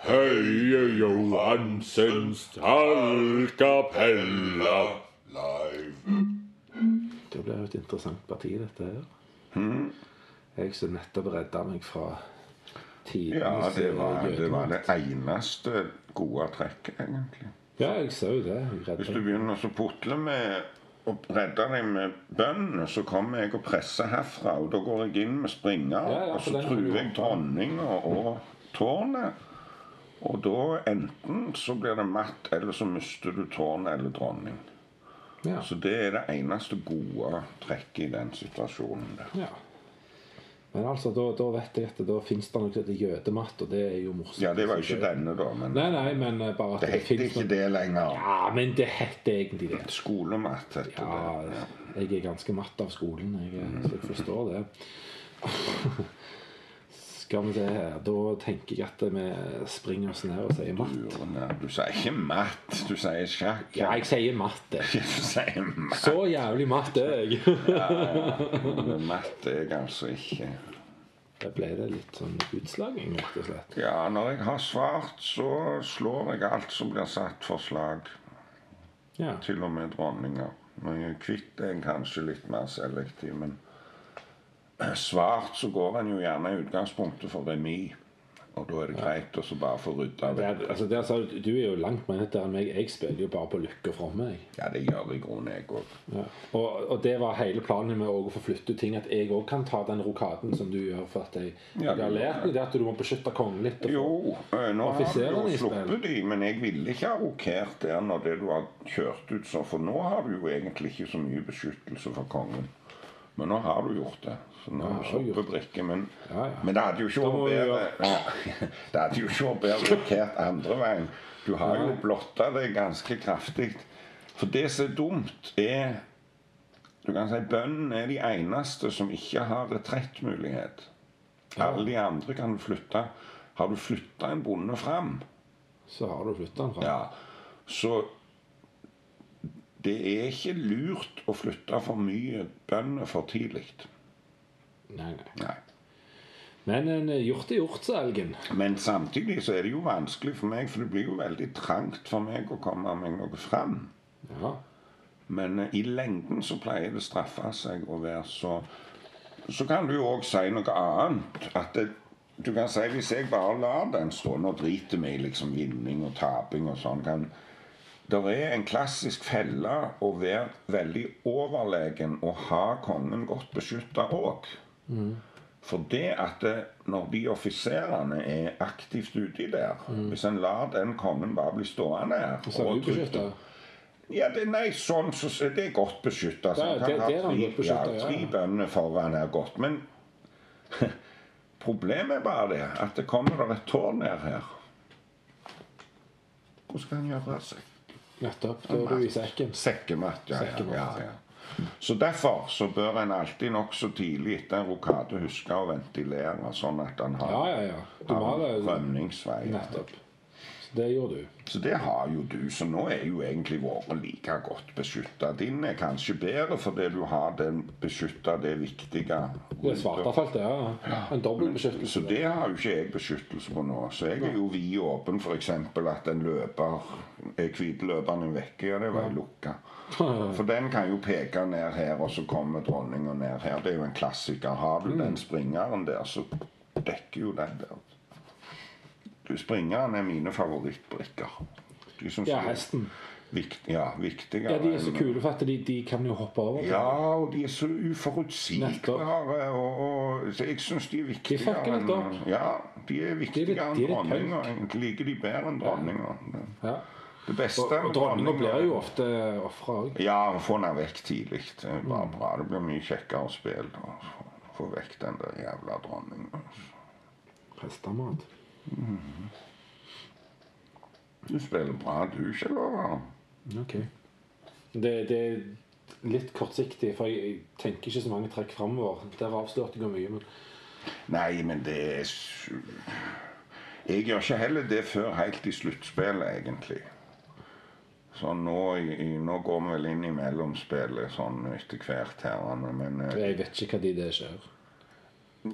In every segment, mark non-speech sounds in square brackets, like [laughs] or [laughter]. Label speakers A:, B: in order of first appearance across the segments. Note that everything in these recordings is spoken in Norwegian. A: Høie Johansens halvkapella live.
B: Det blir jo et interessant parti, dette her.
C: Mm.
B: Jeg som nettopp redda meg fra
C: Ja,
B: tidenes
C: det var,
B: eh,
C: det var det eneste gode trekket, egentlig.
B: Ja, jeg sa jo det. Jeg
C: Hvis du
B: redda
C: begynner å putle med å redde deg med bøndene, så kommer jeg og presser herfra. Og da går jeg inn med springer,
B: Ja, ja,
C: og
B: for
C: så
B: den har du
C: truer jeg
B: gjort.
C: dronninga og tårnet. Og da enten så blir det matt, eller så mister du tårnet eller dronning.
B: ja.
C: Så det er det eneste gode trekket i den situasjonen der.
B: ja. Men altså, da, da vet jeg at da fins det noe som heter jødematt, og det er jo morsomt.
C: Ja, det var jo ikke denne, da, men
B: Nei, nei, men eh, bare at
C: det
B: det,
C: heter
B: finnes
C: ikke
B: noe
C: det lenger.
B: Ja, men det heter egentlig det.
C: Skolematt heter
B: Ja,
C: det.
B: jeg er ganske matt av skolen, jeg, eh, så jeg forstår det. [laughs] Skal vi se her Da tenker jeg at vi springer oss ned og sier matt.
C: Urene. Du sier ikke matt, du sier sjakk.
B: Ja, jeg sier matt. det.
C: [laughs] Du sier matt.
B: Så jævlig matt er jeg.
C: Men matt er jeg altså ikke.
B: Da ble det litt sånn utslaging, rett og slett.
C: Ja, når jeg har svart, så slår jeg alt som blir satt for slag.
B: Ja.
C: Til og med dronninger. Når jeg er kvitt er jeg kanskje litt mer selektiv, men [clears throat] svart så går en jo gjerne i utgangspunktet for remis. Og da er det greit å så bare få rydda
B: Det
C: det.
B: er, altså, det er, så- du er jo langt mer etter enn meg. Jeg spiller jo bare på lykke fra meg.
C: Ja, det gjør i grunnen jeg òg.
B: Ja. Og, og det var hele planen med å få flytte ting. At jeg òg kan ta den rokaden som du gjør for at jeg,
C: Ja,
B: jeg har
C: du-
B: lært meg det at du må beskytte kongen litt. Og
C: Jo, eh, nå har du
B: Offiserene
C: jo
B: i spill.
C: sluppet de, men jeg ville ikke ha rokert der når det du har kjørt ut sånn, for nå har du jo egentlig ikke så mye beskyttelse for kongen. Men nå har du gjort det. Så nå har du
B: Ja, jeg har
C: sluppet brikke, men,
B: Ja, ja.
C: men det hadde jo ikke
B: Da må vi
C: vært bedre [laughs] Det hadde jo ikke vært bedre rokert andre veien. Du har jo blotta det ganske kraftig. For det som er dumt, er Du kan si bøndene er de eneste som ikke har retrettmulighet. Alle de andre kan du flytte. Har du flytta en bonde fram,
B: så har du flytta den fra.
C: ja, så det er ikke lurt å flytte for mye bønder for tidlig.
B: Nei, nei.
C: Nei.
B: Men en eh, gjort er gjort, sa elgen.
C: Men samtidig så er det jo vanskelig for meg, for det blir jo veldig trangt for meg å komme meg noe fram.
B: Ja.
C: Men eh, i lengden så pleier det å straffe seg å være så Så kan du jo òg si noe annet. At det, du kan si hvis jeg bare lar den stå Nå driter vi i liksom vinning og taping og sånn. kan det er en klassisk felle å være veldig overlegen og ha kongen godt beskytta òg.
B: Mm.
C: For det at det, når de offiserene er aktivt uti der Hvis en lar den kongen bare bli stående her
B: Mm. Så er
C: og
B: du
C: trygt-
B: beskytta.
C: ja, det, nei, sånn så, så Det er godt beskytta.
B: Ja, det- det er han godt beskyttet, ja.
C: ja, tre bønder foran her godt. Men [laughs] problemet er bare det at det kommer der et tårn ned her. Hvordan skal han gjøre av seg?
B: Nettopp. Da er du i sekken.
C: Sekkematt, ja. ja,
B: Sekkematt.
C: ja, ja. Så derfor så bør en alltid nokså tidlig etter en rokade huske å ventilere, sånn at en har,
B: Ja, ja, ja. Du må ha
C: har en
B: det-
C: rømningsvei. ja.
B: Nettopp. Så det gjorde du.
C: Så det har jo du, så nå er jo egentlig våre like godt beskytta. Din er kanskje bedre fordi du har den beskytta, det viktige.
B: Det er svartefeltet, ja. En dobbel
C: Så
B: beskyttelse.
C: det har jo ikke jeg beskyttelse på nå. Så jeg er jo vid åpen, f.eks. at en løper er hviteløperen er vekke, ja, det var jeg lukka.
B: [laughs]
C: For den kan jo peke ned her, og så kommer dronninga ned her. Det er jo en klassiker. Har du
B: Mm.
C: den springeren der, så dekker jo den der. Du, springeren er mine favorittbrikker. De synes
B: Ja,
C: de er
B: hesten.
C: Vikt, ja, viktigere
B: Ja, de er så
C: enn-
B: kule for at de, de kan jo hoppe over.
C: Ja, og de er så uforutsigbare.
B: Nettopp.
C: Og, og, så jeg syns de er viktigere
B: fucker litt
C: enn- Ja, de er viktigere
B: de
C: enn
B: er litt
C: dronninga. Jeg liker de bedre enn dronninga. Det-
B: Ja.
C: Det
B: Og,
C: beste
B: og dronninga blir jo ofte ofra òg.
C: Ja, få henne vekk tidlig. Det er bare
B: Mm.
C: bra. Det blir mye kjekkere spill å få- få vekk den der jævla dronninga.
B: Hestemat.
C: Du spiller bra, du, Kjell Over.
B: Ok. Det, det er litt kortsiktig, for jeg, jeg tenker ikke så mange trekk framover. Der avslørte jeg mye, men
C: Nei, men det er s- Jeg gjør ikke heller det før helt i sluttspillet, egentlig. Så nå, i- i- nå går vi vel inn i mellomspillet sånn etter hvert her, Anne, men eh,
B: jeg vet ikke hva de det skjer.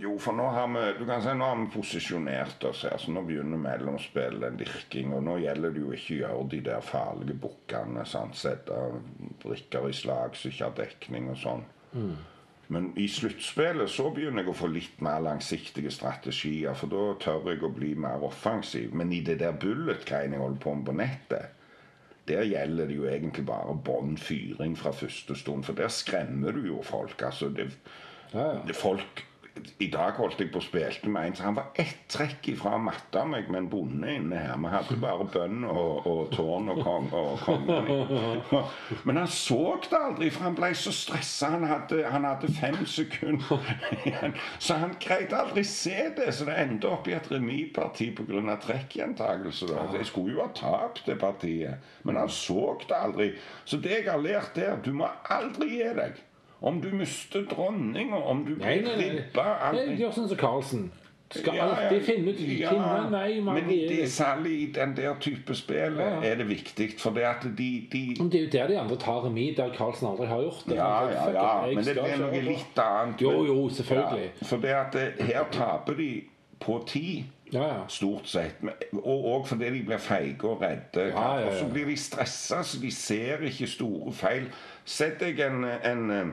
C: Jo, for nå har vi du kan si, nå har vi posisjonert oss her, så nå begynner mellomspillet lirking. Og nå gjelder det jo ikke å gjøre de der farlige bukkene. sant? Sette brikker i slag som ikke har dekning og sånn. Men i sluttspillet så begynner jeg å få litt mer langsiktige strategier. For da tør jeg å bli mer offensiv. Men i det der bullet-greiene jeg holder på med på nettet, der gjelder det jo egentlig bare bånn fyring fra første stund. For der skremmer du jo folk. altså det
B: Ja, ja.
C: det folk I dag holdt jeg på og spilte med en så Han var ett trekk ifra å matte meg med en bonde inne her. Vi hadde bare bønn og, og tårn og kong og konge. Men han så det aldri, for han ble så stressa. Han, hadde- han hadde fem sekunder igjen. Så han greide aldri se det. Så det endte opp i et remisparti pga. trekkgjentakelse. da. Jeg skulle jo ha tapt det partiet, men han så det aldri. Så det jeg har lært der, du må aldri gi deg. Om du mister dronninga, om du
B: Nei,
C: blir
B: nei, nei.
C: ribba
B: Nei,
C: aldri-
B: Gjør sånn som Carlsen. Skal
C: Ja, ja.
B: alltid finne ut
C: Ja,
B: finne en vei om
C: Men
B: alle
C: i det,
B: er-
C: særlig i den der type spill
B: Ja, ja.
C: er det viktig, for det at de, de
B: Men Det er jo der de andre tar remis, der Carlsen aldri har gjort det.
C: ja,
B: Fuck
C: ja,
B: it,
C: ja,
B: jeg
C: men det
B: skal
C: er noe
B: kjøre på.
C: litt annet.
B: Jo,
C: men-
B: jo, selvfølgelig.
C: Ja, for det at eh, her taper de på tid.
B: Ja, ja.
C: Stort sett. Men- Og, og fordi de blir feige og redde.
B: Ja, ja, ja.
C: Og så blir de stressa, så de ser ikke store feil. Sett deg en, en eh,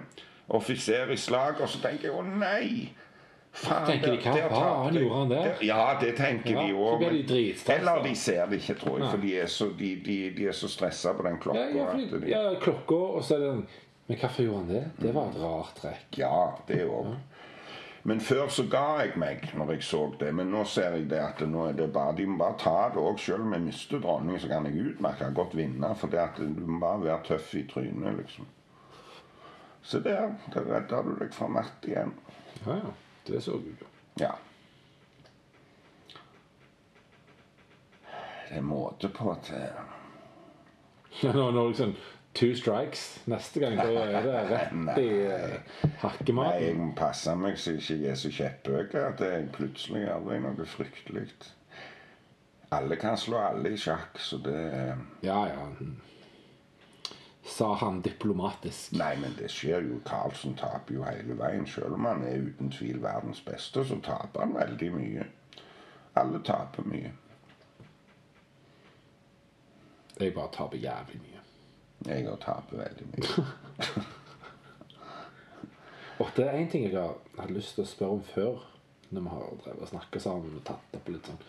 C: offiser i slag, og så tenker jeg 'Å, nei'! Faen,
B: Tenker de, hva
C: der
B: faen
C: tapte jeg».
B: gjorde han der?
C: Ja, det tenker
B: Ja,
C: de
B: så blir de
C: òg.
B: dritstressa.
C: Eller de ser det ikke, tror jeg, for de er så, de, de, de er så stressa på den
B: Ja,
C: klokka.
B: ja,
C: at
B: fordi-
C: de-
B: ja, klokka, og så er det den Men hvorfor gjorde han det? Det var et rart trekk.
C: Ja, det òg. Men før så ga jeg meg når jeg så det. Men nå ser jeg det at nå er det bare, de må bare ta det òg. Selv om jeg mister dronningen, så kan jeg utmerke godt vinne. For det at du må bare være tøff i trynet, liksom. Se der. Der redda du deg fra Matt igjen.
B: Ja, ja. Det så du jo.
C: Ja. Det er måte på eh, til
B: Ja, [laughs] Nå, nå liksom Two strikes neste gang. Da er [laughs] det rett i eh,
C: Nei,
B: hakkematen.
C: jeg må passe meg så ikke jeg er så kjepphøy at jeg plutselig gjør det noe fryktelig. Alle kan slå alle i sjakk, så det er-
B: Ja, ja. Sa han diplomatisk.
C: Nei, men det skjer jo. Carlsen taper jo hele veien. Selv om han er uten tvil verdens beste, så taper han veldig mye. Alle taper mye.
B: Jeg bare taper jævlig mye.
C: Jeg òg taper veldig mye.
B: Og det er en ting jeg har hadde lyst til å spørre om før, når vi har drevet og snakka sammen og tatt opp litt sånn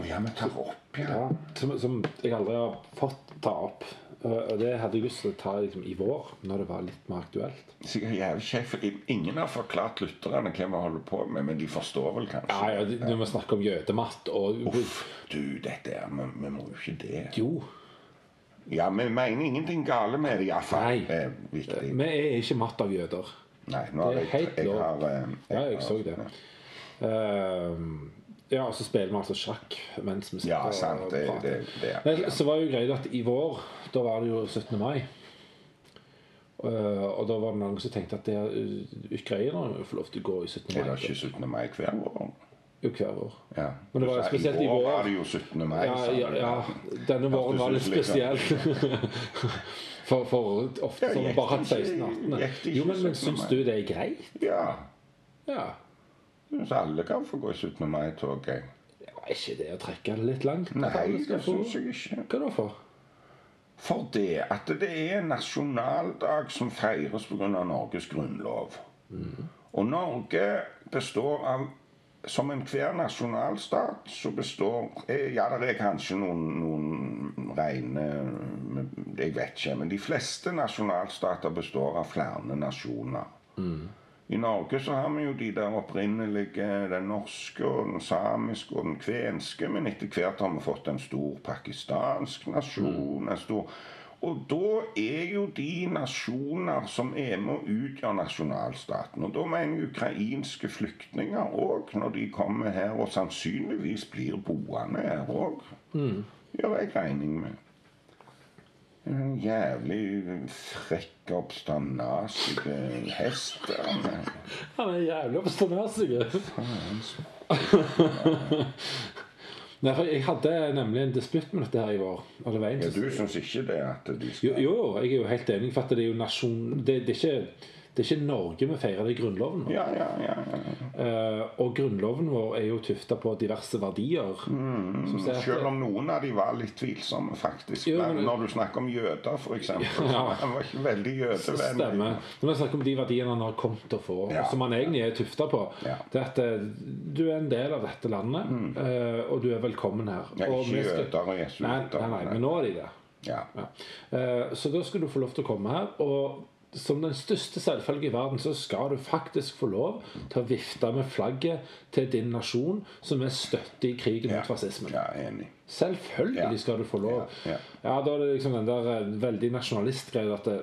C: Å ja, vi tar opp, ja.
B: ja, som, som jeg aldri har fått ta opp. Og og det hadde jeg lyst til å ta liksom, i vår, når det var litt mer aktuelt.
C: Sikkert jævlig kjekt. for Ingen har forklart lytterne hva vi holder på med, men de forstår vel kanskje?
B: Ja, ja, Når vi snakker om jødematt og
C: Uff, du, dette er Vi, vi må jo ikke det.
B: Jo,
C: Ja, vi mener ingenting gale med det, iallfall.
B: Nei.
C: Det er viktig.
B: vi er ikke matt av jøder.
C: Nei, nå har
B: Det er
C: jeg,
B: helt
C: jeg
B: lov.
C: har eh,
B: Ja, jeg
C: har-
B: så det. Ehm, ja, og så spiller vi altså sjakk mens vi sitter
C: Ja, sant. Det,
B: og
C: det,
B: prater.
C: det,
B: Vel,
C: ja.
B: så var jo greia at i vår, da var det jo 17. mai. Eh, og da var det noen som tenkte at det eh, ukrainerne må få lov til å gå i 17. mai.
C: Er det ikke 17. mai hver år?
B: Jo, hver år.
C: Ja.
B: Men det var
C: Du sa,
B: spesielt i vår.
C: var det jo 17. mai.
B: Ja,
C: sa du.
B: ja, ja. Denne våren var litt
C: Hørtes ut
B: spesiell. [laughs] For, for ofte
C: Ja,
B: så har vi
C: gikk
B: bare hatt
C: det ikke-
B: 16-18.
C: gikk det ikke
B: Jo, men, men
C: 17.
B: syns
C: mai?
B: du det er greit?
C: ja.
B: Ja.
C: Så alle kan få gå i 17. mai-tog, jeg.
B: ja. Er ikke det å trekke det litt langt? at
C: Nei,
B: alle skal
C: det
B: få-
C: syns jeg ikke.
B: Hva da for?
C: For det at det er en nasjonaldag som feires pga. Norges grunnlov. Og Norge består av Som enhver nasjonalstat så består eh, Ja, det er kanskje noen, noen rene eh, Jeg vet ikke. Men de fleste nasjonalstater består av flere nasjoner. I Norge så har vi jo de der opprinnelige, den norske og den samiske og den kvenske, men etter hvert har vi fått en stor pakistansk nasjon. en stor... Og da er jo de nasjoner som er med og utgjør nasjonalstaten. Og da mener jeg ukrainske flyktninger òg, når de kommer her og sannsynligvis blir boende her òg. Gjør jeg regning med. En jævlig frekk oppstandasig hest. der, men-
B: Han er jævlig oppstandasig.
C: sånn-
B: [laughs] Nei, for jeg hadde nemlig en disputt med dette her i vår. Og det var en
C: Ja,
B: som
C: du syns ikke det at de skal
B: Jo, jo, jeg er jo helt enig, for at det er jo nasjon Det, det er ikke Det er ikke Norge vi feirer, det er Grunnloven. vår.
C: Ja, ja, ja. ja.
B: Eh, og Grunnloven vår er jo tufta på diverse verdier. som sier at-
C: Mm, Selv om noen av de var litt tvilsomme, faktisk.
B: Jo, men-
C: Men når du snakker om jøder, f.eks.
B: [laughs] Ja.
C: Han var ikke veldig jødevennlig.
B: Stemmer. Når vi snakker om de verdiene han har kommet til å få,
C: Ja.
B: og som han egentlig er tufta på,
C: Ja. Mm.
B: det er at eh, du er en del av dette landet, eh, og du er velkommen her.
C: Ja,
B: Og
C: ikke
B: vi skal-
C: jøder og
B: Nei,
C: jesuitter.
B: nei, nei, men nå er de det.
C: Ja.
B: Ja. Eh, Så da skal du få lov til å komme her. og som den største selvfølge i verden så skal du faktisk få lov til å vifte med flagget til din nasjon, som er støtte i krigen
C: Ja.
B: mot fascismen.
C: ja, enig.
B: Selvfølgelig
C: Ja.
B: skal du få lov.
C: Ja,
B: Ja,
C: ja.
B: da er det liksom den der eh, veldig nasjonalistgreia at det,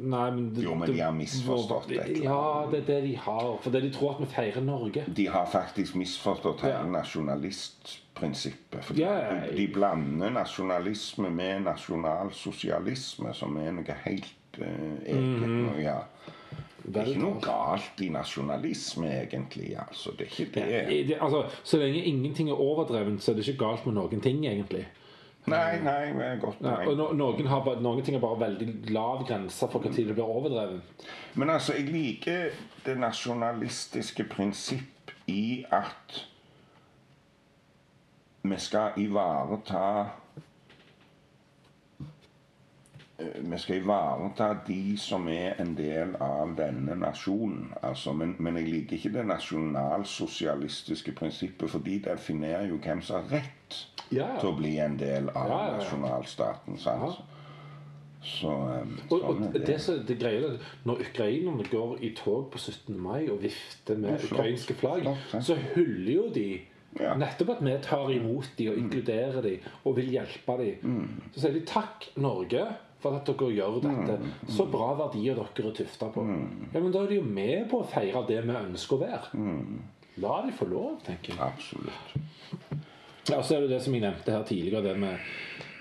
B: Nei, men det-
C: Jo, men de har misforstått
B: det.
C: et eller
B: Ja, det er det de har. For det de tror at vi feirer Norge.
C: De har faktisk misforstått hele
B: Ja.
C: nasjonalistprinsippet. For
B: Ja, ja, ja.
C: de, de blander nasjonalisme med nasjonalsosialisme, som er noe helt eh, eget.
B: Mhm.
C: noe- Ja. Det er ikke noe galt i nasjonalisme, egentlig. altså. Det er ikke det.
B: I det, altså, så lenge ingenting er overdrevent, så er det ikke galt med noen ting, egentlig.
C: Nei, nei, det er godt
B: Og
C: poeng.
B: no, noen, har bare, noen ting er bare veldig lav grense for når det blir overdrevent.
C: Men altså, jeg liker det nasjonalistiske prinsipp i at vi skal ivareta eh, vi skal ivareta de som er en del av denne nasjonen. Altså, men, men jeg liker ikke det nasjonalsosialistiske prinsippet, for de definerer jo hvem som har rett
B: Ja.
C: til å bli en del av
B: Ja, ja, ja.
C: nasjonalstaten. Sant?
B: Ja.
C: Så eh,
B: Og, og
C: sånn er
B: det, som- det greia er at Når ukrainerne går i tog på 17. mai og vifter med
C: flott.
B: ukrainske flagg,
C: Flott, ja.
B: så hyller jo de
C: Ja. Mm.
B: nettopp at vi tar imot de og inkluderer de og vil hjelpe de. Så sier de 'takk, Norge', for at dere gjør
C: Mm.
B: dette. Så bra verdier dere er tufta på. Ja, Men da er de jo med på å feire det vi ønsker å være.
C: Mm.
B: La de få lov, tenker jeg.
C: Absolutt.
B: Ja, og så er det det som jeg nevnte her tidligere, det med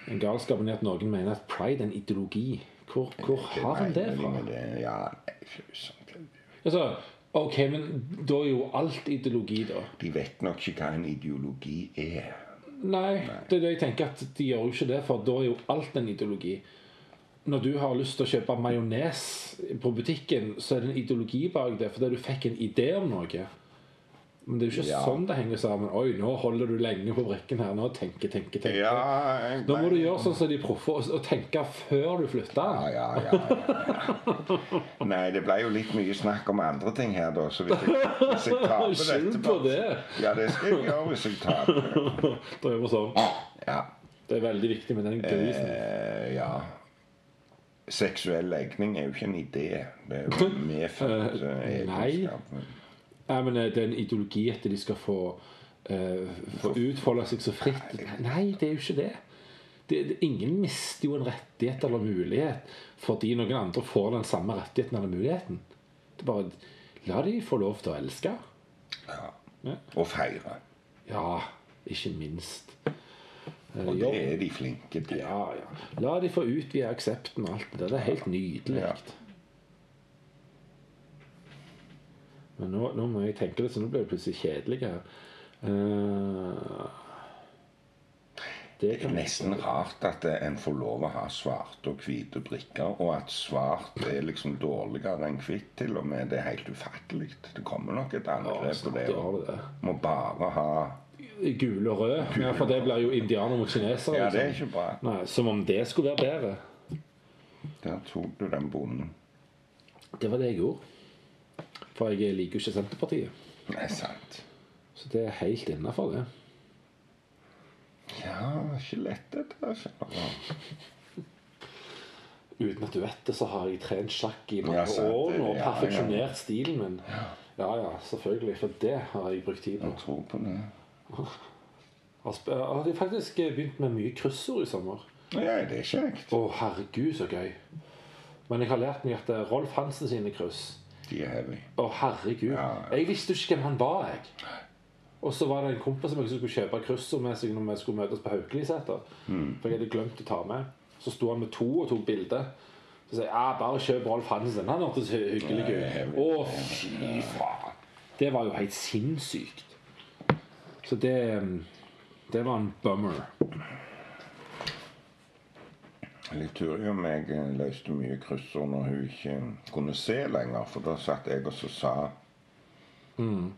B: en galskapen i at noen mener at pride er en ideologi. Hvor, hvor har han det fra?
C: Mener de med det? Ja, nei, fy søren.
B: Altså, ok, men da er jo alt ideologi, da.
C: de vet nok ikke hva en ideologi er.
B: Nei, det er det jeg tenker at de gjør jo ikke det, for da er jo alt en ideologi. Når du har lyst til å kjøpe majones på butikken, så er det en ideologi bak det, fordi du fikk en idé om noe. Men det er jo ikke
C: Ja.
B: sånn det henger sammen. Oi, nå holder du lenge på brikken her. Nå tenke, tenke, tenke.
C: Ja, jeg,
B: Da må du gjøre sånn som de proffe, og- og tenke før du flytter.
C: ja, ja, ja, ja, ja. Nei, det ble jo litt mye snakk om andre ting her, da. Så hvis jeg, hvis jeg taper
B: Skyld
C: dette
B: på det!
C: Ja, det skal jeg gjøre hvis jeg taper.
B: Prøver sånn.
C: Ja.
B: Det er veldig viktig med den grisen.
C: Eh, ja. Seksuell legning er jo ikke en idé. Det
B: [laughs]
C: er jo en medfødt eh,
B: Eh, nei.
C: egenskap. men-
B: Nei, men eh, det er en ideologi at de skal få, eh, få utfolde seg så fritt. Nei, det er jo ikke det. Det, det. Ingen mister jo en rettighet eller mulighet fordi noen andre får den samme rettigheten eller muligheten. Det er bare La de få lov til å elske.
C: Ja. Og feire.
B: Ja, ikke minst. Eh,
C: Og det
B: jobb.
C: er de flinke til.
B: Ja, ja. La de få utvide aksepten og alt det der. Det er helt nydelig.
C: Ja.
B: Men nå, nå må jeg tenke litt, så nå blir det plutselig kjedelig her. Eh, det
C: Det er
B: kan
C: nesten rart at eh, en får lov å ha svarte og hvite brikker, og at svart er liksom dårligere enn hvitt til og med. Det er helt ufattelig. Det kommer nok et
B: Ja,
C: angrep på
B: snart
C: det. og
B: gjør det det.
C: Må bare ha
B: Gule og rød. Ja, for det blir jo indianer mot kinesere.
C: Ja, det er
B: liksom.
C: ikke bra.
B: Nei, som om det skulle være bedre.
C: Der tok du den bonden.
B: Det var det jeg gjorde. For jeg liker jo ikke Senterpartiet.
C: Nei, sant.
B: Så det er helt innafor, det.
C: Ja, ikke lett dette. altså.
B: Uten at du vet det, så har jeg trent sjakk i
C: Ja,
B: mange
C: sant,
B: år
C: det-
B: nå og
C: ja, ja.
B: perfeksjonert stilen min. Ja ja, selvfølgelig. For det har jeg brukt tid på.
C: Jeg tror på det.
B: Har sp- Jeg har faktisk eh, begynt med mye kryssord i sommer.
C: Nei, det er kjekt.
B: Å, herregud, så gøy. Men jeg har lært meg at det er Rolf Hansen sine kryss
C: De er heavy.
B: Å, herregud.
C: Ja, ja.
B: Jeg visste jo ikke hvem han var, jeg. Og så var det en kompis som jeg skulle kjøpe kryssord med seg når vi skulle møtes på Haukeliseter. For jeg hadde glemt å ta med. Så sto han med to og tok bilde. Så sier jeg ja, bare kjøp Rolf Hansen. Han hørtes hy- hyggelig
C: Ja, ja, ja.
B: ut. Å, fy faen. Det var jo helt sinnssykt. Så det um, Det var en bummer.
C: Liturium jeg eh, løste mye kryssord når hun ikke kunne se lenger, for da satt jeg og så sa
B: Mm.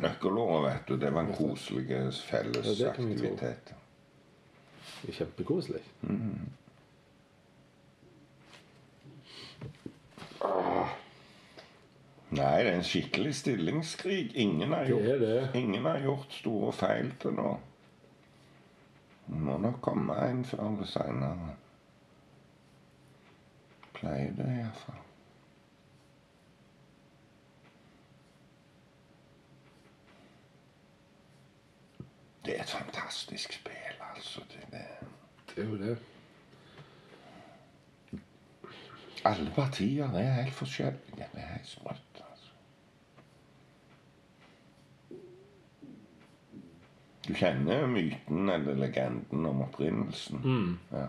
C: nøkkelordet, vet du. Det var en koselig felles
B: Ja, det kan vi tro.
C: aktivitet.
B: Det er kjempekoselig.
C: Nei, det er en skikkelig stillingskrig. Ingen har
B: Det
C: gjort,
B: er det.
C: Ingen har gjort store feil til nå. Det må nok komme en før eller seinere. Pleier det iallfall. Det er et fantastisk spill, altså. Det, det.
B: Det er jo det.
C: Alle partier er helt forskjellige. Det er helt sprøtt. altså. Du kjenner myten eller legenden om opprinnelsen.
B: Mm.
C: Ja.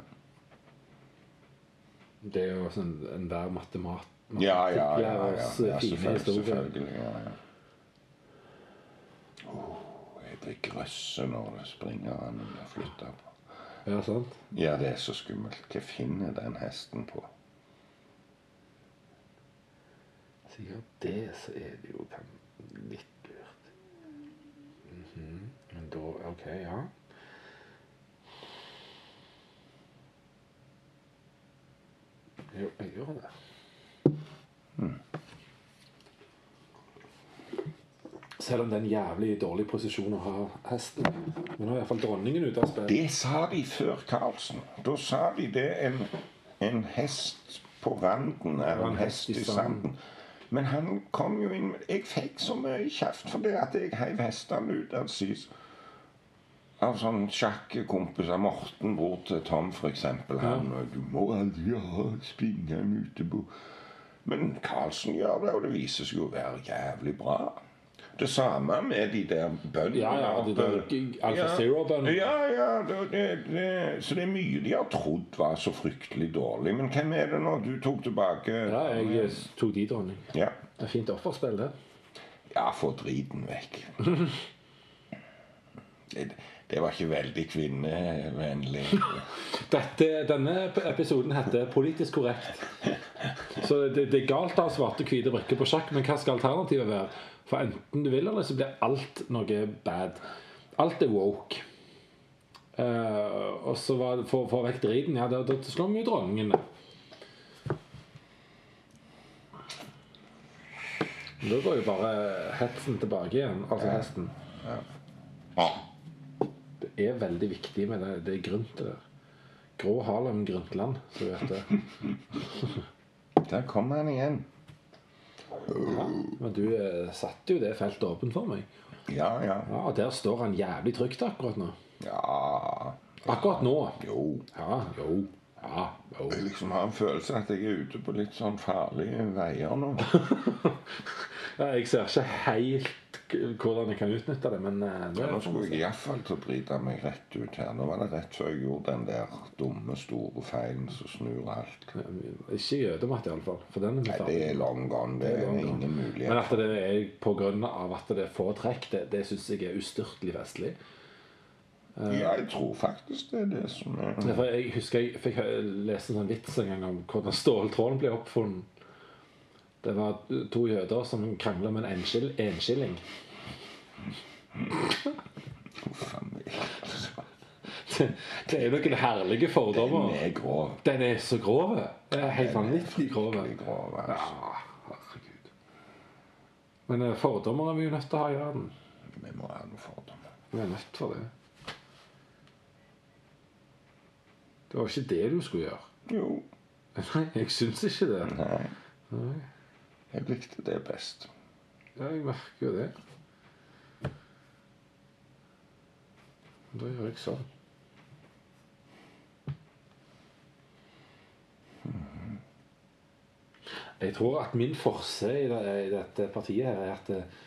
B: Det er jo sånn enhver matemat
C: Ja, ja, ja, ja,
B: matematikklærers
C: ja,
B: eh, fine
C: selvfølgelig.
B: historie.
C: selvfølgelig ja, ja. Oh, jeg blir grøsse når det springer an og blir flytta på.
B: Ja, sant?
C: Ja, det er så skummelt. Hva finner den hesten på?
B: Sikkert det, så er det jo kan- litt lurt. Mhm. Men da OK, ja. Jo, jeg gjør det. Selv om det er en jævlig dårlig posisjon å ha hesten. Men nå er iallfall dronningen ute av spill.
C: Det sa de før Karlsen. Da sa de det en, en hest på randen eller en hest i sanden. Men han kom jo inn med Jeg fikk så mye kjeft for det at jeg heiv hestene ut av sys. Av sånn sjakkekompis av Morten bror til Tom, for eksempel. Han og 'Du må aldri ha spinneren ute på Men Karlsen gjør det, og det viser seg jo å være jævlig bra. Det samme med de der bøndene
B: Ja, ja, de der
C: oppe.
B: Alpha Zero-bøndene.
C: Ja, ja, det, det, det, så det er mye de har trodd var så fryktelig dårlig. Men hvem er det nå du tok tilbake?
B: Ja, jeg eh, tok de, dronning.
C: Ja,
B: Det er fint offerspill, det.
C: ja få driten
B: [laughs]
C: vekk. Det, det var ikke veldig kvinnevennlig.
B: Dette, denne episoden heter 'Politisk korrekt'. Så det, det er galt å ha svarte hvite brikker på sjakk, men hva skal alternativet være? For enten du vil eller så blir alt noe bad. Alt er woke. Eh, og så var det for, for vekk driten Ja, da, da slår vi jo dronningen, da. Da går jo bare hetsen tilbake igjen. Altså hesten.
C: Ja.
B: Det er veldig viktig med det, det grøntet der. Grå Harlem Grøntland, så du vet det.
C: Der kom han igjen.
B: Men du eh, satte jo det feltet åpent for meg.
C: Ja, ja.
B: Ja, og Der står han jævlig trygt akkurat nå.
C: Ja
B: Akkurat nå.
C: Jo.
B: Ja, jo. Ja, jo.
C: Jeg liksom har en følelse at jeg er ute på litt sånn farlige veier
B: [laughs]
C: nå.
B: Ja, jeg ser ikke helt k- hvordan jeg kan utnytte det, men eh, det
C: Nå
B: er
C: skulle jeg iallfall til å drite meg rett ut her. Nå var det rett før jeg gjorde den der dumme, store feilen som snur alt.
B: Ikke jødematt, iallfall. For den er vi
C: Nei, det
B: ferdig med.
C: er long gone. Det
B: Det er
C: er
B: long gone.
C: ingen
B: Men
C: mulighet.
B: at det er på grunn av at det er få trekk, det, det syns jeg er ustyrtelig festlig.
C: Ja, jeg tror faktisk det er det som er
B: eh, Ja, for Jeg husker jeg fikk hø- lese en sånn vits en gang om hvordan ståltråden ble oppfunnet. Det var to jøder som krangla om en enskill- enskilling. [laughs]
C: Faen,
B: [laughs]
C: jeg- altså,
B: Det det er jo noen herlige
C: Den
B: fordommer.
C: er grov.
B: Den er så grov. Det er helt vanvittig grov.
C: Fryktelig grov, altså.
B: Ja, herregud. Men eh, fordommer er vi jo nødt til å ha i verden.
C: Vi må ha noe fordommer.
B: Vi er nødt for det. Det var ikke det du skulle gjøre. [laughs]
C: Jo.
B: Nei, jeg syns ikke det.
C: Nei.
B: Nei.
C: Jeg likte det best.
B: Ja, jeg merker jo det. Da gjør jeg sånn. Mhm. Jeg tror at min forse i, det, i dette partiet her er at eh,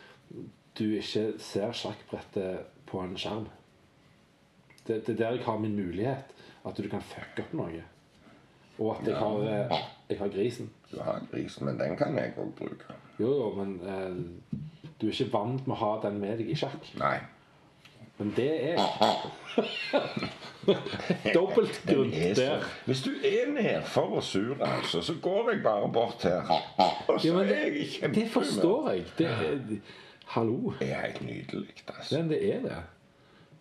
B: du ikke ser sjakkbrettet på en skjerm. Det, det er der jeg har min mulighet. At du kan fucke opp noe. Og at jeg har, eh, jeg har grisen.
C: Du har grisen, men den kan jeg òg bruke.
B: Jo, jo, men eh, du er ikke vant med å ha den med deg i sjakk.
C: Nei.
B: Men det er [laughs] Dobbelt
C: Den
B: grunt
C: er så-
B: der.
C: Hvis du er nedfor og sur, altså, så går jeg bare bort her. Og så
B: Ja, men
C: er jeg i
B: det,
C: kjempehumør.
B: det forstår jeg. Det er, hallo.
C: Det er helt nydelig, altså.
B: Men det er det.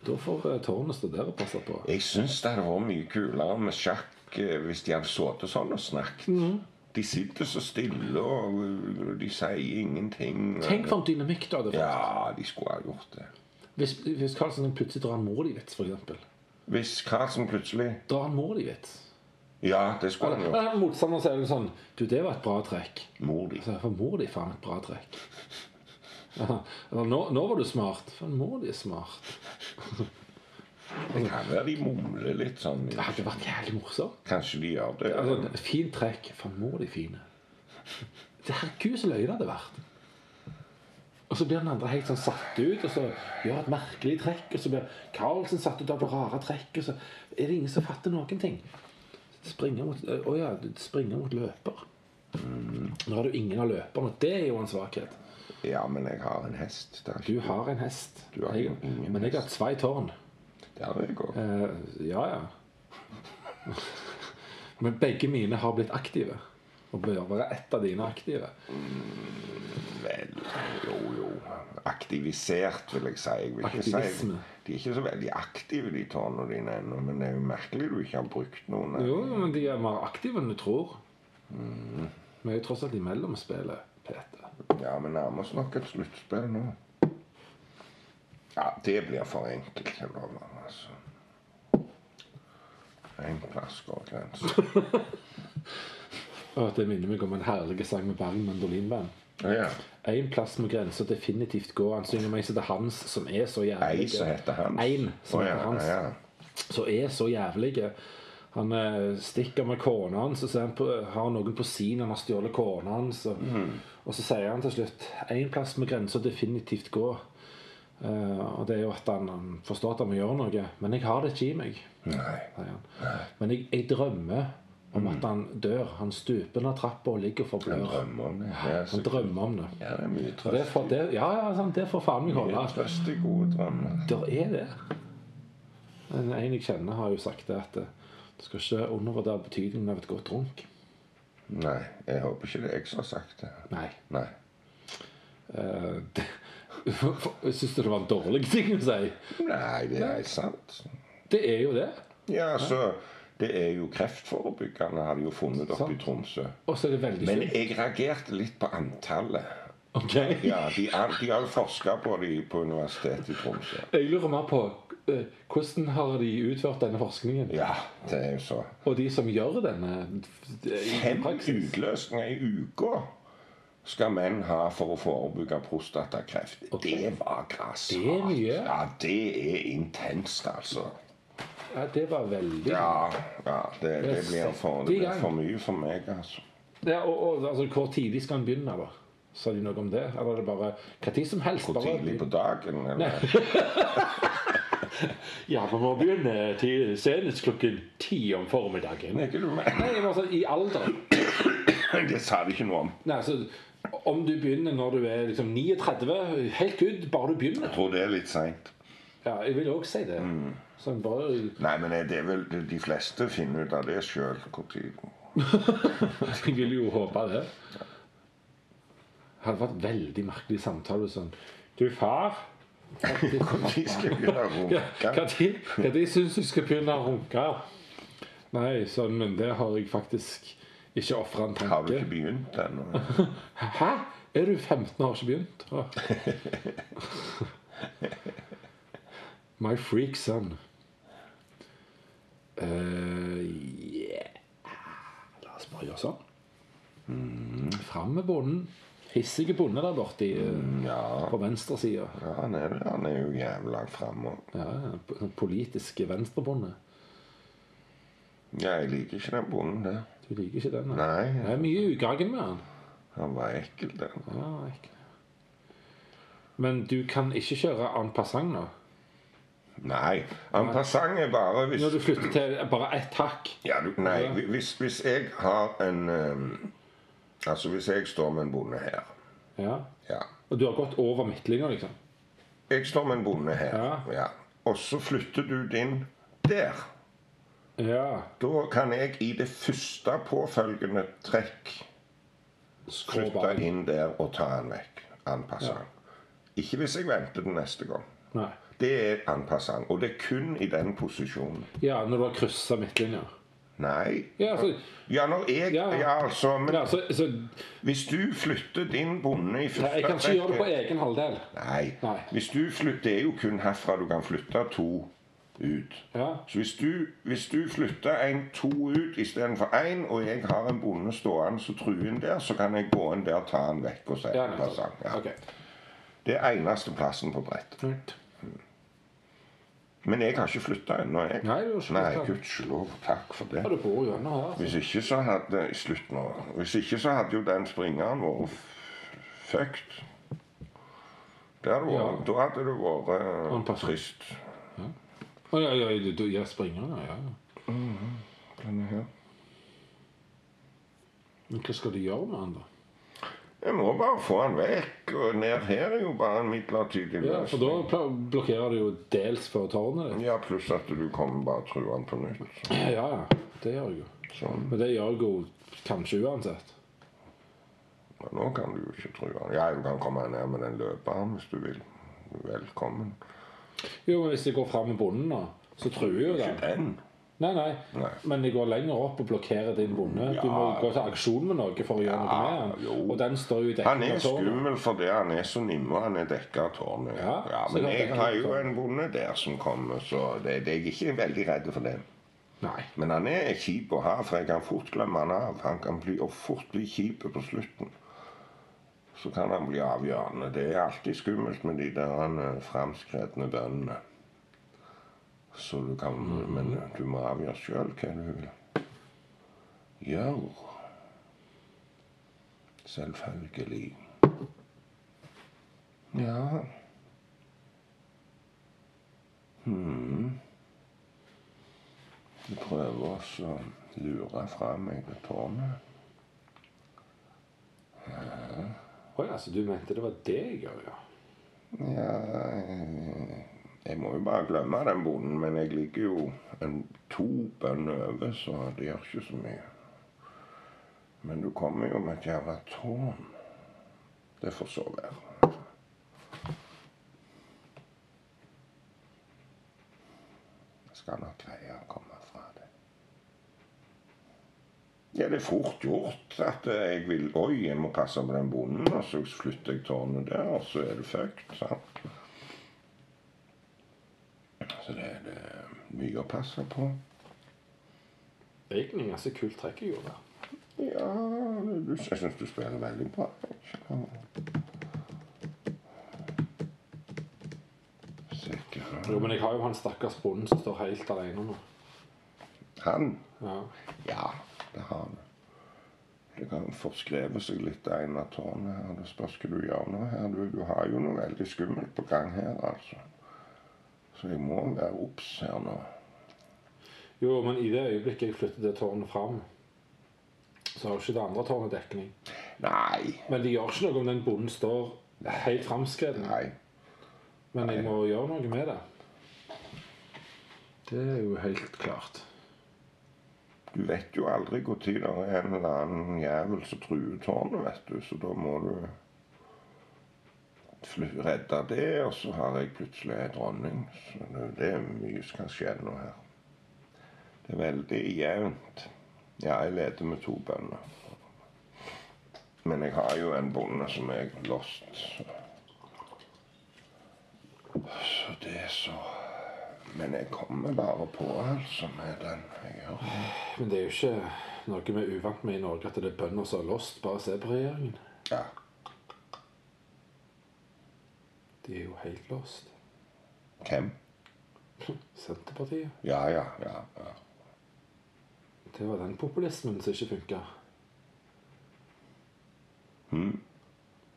B: Da får eh, tårnet stå der og passe på.
C: Jeg syns det hadde vært mye kulere med sjakk eh, hvis de hadde sittet sånn og snakket.
B: Mm.
C: De sitter så stille, og eh, de sier ingenting.
B: Tenk for en dynamikk du hadde fått.
C: Ja, de skulle ha gjort det.
B: Hvis, hvis Carlsen plutselig drar en Morley-vits, f.eks.
C: Hvis Karlsen plutselig
B: Drar en Morley-vits.
C: Ja, det skulle han gjort.
B: Ja, Motstanderen sier det sånn Du, det var et bra trekk.
C: Mor di.
B: Så jeg, For mor di faen et bra trekk. [laughs] Ja, eller, nå, nå var du smart. Faen, mor di er smart.
C: Det kan være de mumler litt sånn.
B: Det hadde vært jævlig morsomt.
C: Kanskje de gjør det.
B: Altså, et fint trekk. Faen, mor di er fine. Det Herregud, så løye det hadde vært. Og så blir den andre helt sånn satt ut, og så gjør et merkelig trekk. Og så blir Carlsen satt ut av det rare trekket, og så er det ingen som fatter noen ting. Springer mot, å ja, du springer mot løper. Mm. Nå har du ingen av løperne. og Det er jo en svakhet.
C: Ja, men jeg har en hest. Det er
B: Du
C: ikke
B: har en hest.
C: Du har
B: jeg,
C: ingen
B: men jeg har tvei tårn.
C: Der er jeg òg.
B: Eh, ja, ja. Men begge mine har blitt aktive. Og bør være ett av dine aktive.
C: Vel, jo, jo. Aktivisert, vil jeg si. Jeg vil ikke si.
B: Aktivisme.
C: De er ikke så veldig aktive, de tårnene dine ennå. Men det er jo merkelig du ikke har brukt noen.
B: Jo, jo, men de er mer aktive enn du tror. Mm. Vi er jo tross alt i mellomspillet, Peter.
C: Ja, vi nærmer oss nok et sluttspill nå. Ja, det blir for enkelt. jeg lover, Altså. En plass går grensen.
B: Og det minner meg om en herlig sang med Bergen Mandolinband.
C: Ja.
B: Én plass må grensa definitivt gå. Han synger meg som det er hans som er så
C: Ei
B: jævlig.
C: som heter Hans.
B: Ein som
C: Å,
B: heter
C: ja,
B: Hans.
C: ja.
B: som er så jævlige. Han eh, stikker med kona hans, og så er han på, har noen på sin han har stjålet kona hans. Og,
C: Mhm.
B: og så sier han til slutt én plass med grensa definitivt gå. Eh, og det er jo at han, han forstår at han må gjøre noe. Men jeg har det ikke i meg,
C: Nei.
B: sier han. Men jeg, jeg drømmer om at han dør. Han stuper ned trappa og ligger og
C: Han
B: forblør.
C: drømmer om det. Mhm. Ja, så-
B: Han drømmer om det.
C: ja, det er mye
B: Det
C: trøst.
B: får, det, ja, ja, sant, det får faen meg
C: Mye
B: holde.
C: trøst i gode drømmer.
B: Der er det. En, en jeg kjenner, har jo sagt det at eh, du skal ikke undervurdere betydningen av et godt runk.
C: Nei, jeg håper ikke det er jeg som har sagt det.
B: Nei.
C: Nei.
B: Eh, det- [laughs] Syns du det var en dårlig ting å si?
C: Nei, det er sant.
B: Det er jo det.
C: Ja, så Det er jo kreftforebyggende, har de jo funnet opp i
B: Sant.
C: Tromsø.
B: Og så er det veldig
C: Men
B: sunt.
C: jeg reagerte litt på antallet.
B: Ok.
C: Ja, De, er- de har jo forska på det på Universitetet i Tromsø.
B: Jeg lurer mer på eh, hvordan har de utført denne forskningen?
C: Ja, det er jo så.
B: Og de som gjør denne eh, i
C: Fem
B: praksis?
C: utløsninger i uka skal menn ha for å forebygge prostatakreft.
B: Ok.
C: Det var grassat.
B: Det er mye.
C: Ja, det er intenst, altså.
B: Ja, det var veldig
C: Ja, ja det, det,
B: er
C: blir for,
B: sette i
C: det blir
B: gang.
C: for mye for meg, altså.
B: Ja, og, og altså, Hvor tidlig skal en begynne, da? Sa de noe om det? Eller er det bare hva tid som helst?
C: Hvor
B: bare-
C: tidlig på dagen? Eller?
B: Ja, vi må begynne til senest klokken ti om formiddagen.
C: Er [laughs] ikke du med?
B: Nei, jeg var sånn, I alder.
C: Det sa de ikke noe om.
B: Nei, så Om du begynner når du er liksom 39, helt good, bare du begynner.
C: Jeg tror det er litt seint.
B: Ja, Jeg vil òg si det.
C: Mm.
B: Sånn bare [laughs]
C: Nei, men det er vel de fleste finner ut av det sjøl. Ja,
B: Jeg vil jo håpe det. Det hadde vært veldig merkelig samtale sånn Du, far.
C: [laughs] de skal begynne å
B: Ja,
C: runke.
B: hva tid, hva tid syns du skal begynne å runke? Nei, sånn, men det har jeg faktisk ikke ofra en
C: Har du
B: tanke.
C: ikke begynt ennå?
B: Hæ? Er du 15 og har ikke begynt? Å. My freak son. Eh, yeah. La oss bare gjøre sånn. Mm, Fram med bonden. Hissige bonde der borte i, eh,
C: Mm, Ja.
B: på venstresida.
C: Ja, han er, det. han er jo jævlig langt framme.
B: Ja, p- sånn politiske venstrebonde.
C: Ja, jeg liker ikke den bonden der.
B: Du liker ikke den? da? Det
C: Nei,
B: er mye ugagn med han.
C: han var ekkel, den.
B: Ja, ikke. Men du kan ikke kjøre en passant nå?
C: Nei, en passant er bare hvis
B: Når du flytter til bare ett hakk
C: ja, du, Nei, hvis, hvis jeg har en ehm, Altså, hvis jeg står med en bonde her
B: ja.
C: Ja.
B: Og du har gått over midtlinja, liksom?
C: jeg står med en bonde her.
B: Ja.
C: Og så flytter du din der.
B: Ja.
C: Da kan jeg i det første påfølgende trekk
B: Skrå
C: flytte
B: bak.
C: inn der og ta den vekk. Anpasse den. Ikke hvis jeg venter til neste gang.
B: Nei.
C: Det er anpasse den. Og det er kun i den posisjonen.
B: Ja, når du har kryssa midtlinja.
C: Nei.
B: Ja, så,
C: Ja, når jeg
B: Ja.
C: Ja, altså. Men
B: ja, så, så
C: hvis du flytter din bonde
B: Nei,
C: i første
B: Jeg kan ikke gjøre det på
C: rekke-
B: egen halvdel.
C: Nei.
B: Nei.
C: Hvis du flytter, det er jo kun herfra du kan flytte to ut.
B: Ja.
C: Så hvis du, hvis du flytter en to ut istedenfor én, og jeg har en bonde stående som truer inn der, så kan jeg gå inn der, ta den vekk og si
B: ja,
C: en
B: nettopp.
C: passant. Ja.
B: Ok.
C: Det er eneste plassen på brett.
B: Right.
C: Men jeg har ikke flytta ennå, jeg.
B: Nei, du har ikke
C: Nei,
B: flyttet.
C: gudskjelov. Takk for det.
B: Ja, du bor jo gjennom her.
C: Hvis ikke så hadde Slutt nå. Hvis ikke så hadde jo den springeren vært f- fucked. Det hadde vært, Da hadde det vært eh,
B: Anpasset.
C: trist.
B: Å ja, ja, du, du ja, springer, ja. ja.
C: Denne Mhm. her.
B: Men hva skal du gjøre med den, da?
C: Jeg må bare få han vekk. Og ned her er jo bare en midlertidig
B: Ja, For da pla- blokkerer du jo dels for tårnet ditt.
C: Ja, pluss at du kommer bare og truer han på nytt.
B: Ja, ja. Det gjør jeg jo.
C: Sånn.
B: Men det gjør jeg jo kanskje uansett.
C: Ja, Nå kan du jo ikke true han. Ja, du kan komme ned med den løperen hvis du vil. Velkommen.
B: Jo, men hvis jeg går fram med bonden nå, så truer jo
C: Ikke
B: den.
C: den.
B: Nei, nei,
C: Nei.
B: Men jeg går lenger opp og blokkerer din bonde. Du må
C: Ja.
B: gå til aksjon med noe for å gjøre noe med han.
C: jo.
B: Og den står jo i
C: Han
B: dekning
C: er
B: av tårnet.
C: skummel fordi han er så nimme, han er dekka av tårnet.
B: Ja, så
C: men
B: det er
C: jeg
B: dekket
C: har
B: av
C: jo
B: tårnet.
C: en bonde der som kommer, så det, det, jeg er ikke veldig redd for den.
B: Nei.
C: Men han er kjip å ha, for jeg kan fort glemme han av. Han kan bli, og fort bli kjip på slutten. Så kan han bli avgjørende. Det er alltid skummelt med de der eh, framskredne bøndene. Så du kan Men du må avgjøre sjøl hva du vil gjøre. Selvfølgelig. Ja Du prøver også å lure fra meg tårnet.
B: Å ja, så altså, du mente det var det jeg gjør, ja.
C: Ja eh, Jeg må jo bare glemme den bonden, men jeg ligger jo en, to bønder over, så det gjør ikke så mye. Men du kommer jo med et jævla tårn. Det får så være. Jeg skal nok greie å komme fra det. Ja, det er fort gjort at eh, jeg vil Oi, jeg må passe på den bonden, og så flytter jeg tårnet der, og så er det fucked. Sant? Så det er det er mye å passe på.
B: Det er egentlig en ganske kult trekk jeg gjorde.
C: Ja, du, jeg syns du spiller veldig bra. Sikkert.
B: Jo, men jeg har jo han stakkars bonden som står helt alene nå.
C: Han
B: Ja.
C: Ja, det har han. Det kan forskreve seg litt av en av tårnene her. Det spørs hva du gjør nå her. Du, du har jo noe veldig skummelt på gang her, altså. Så jeg må være obs her nå.
B: Jo, men i det øyeblikket jeg flytter det tårnet fram, så har jo ikke det andre tårnet dekning.
C: Nei.
B: Men det gjør ikke noe om den bonden står helt framskreden.
C: Nei.
B: Men jeg må gjøre noe med det. Det er jo helt klart.
C: Du vet jo aldri når det er en eller annen jævel som truer tårnet, vet du. Så da må du fly- redde det, og så har jeg plutselig ei dronning. Så det, det er mye som kan skje nå her. Det er veldig jevnt. Ja, jeg leder med to bønder. Men jeg har jo en bonde som jeg lost. Så, så det er så Men jeg kommer bare på, altså, med den jeg gjør.
B: Men det er jo ikke noe vi er uvant med i Norge, at det er bønder som har lost. Bare se på regjeringen.
C: Ja.
B: De er jo helt lost.
C: Hvem?
B: Senterpartiet.
C: Ja, ja, ja. ja.
B: Det var den populismen som ikke funka.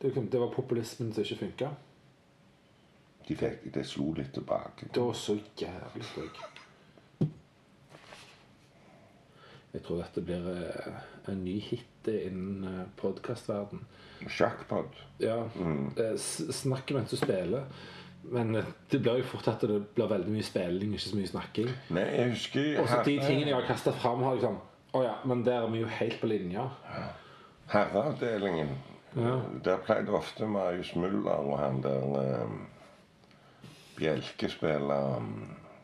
B: Det, kom- det var populismen som ikke funka.
C: De fikk, det slo litt tilbake.
B: Det var så jævlig stygg. Jeg tror dette blir eh, en ny hit innen eh, podkastverden.
C: Sjakkpod.
B: Eh, Ja. Mm. Snakk mens du spiller. Men det blir jo fort at det blir veldig mye spilling, ikke så mye snakking.
C: Nei, jeg husker
B: Og så de
C: herre-
B: tingene jeg har kasta fram, har liksom Å ja, men der er vi jo helt på linja.
C: herreavdelingen. Der pleide ofte Marius Muller og han der eh, Bjelke spille um,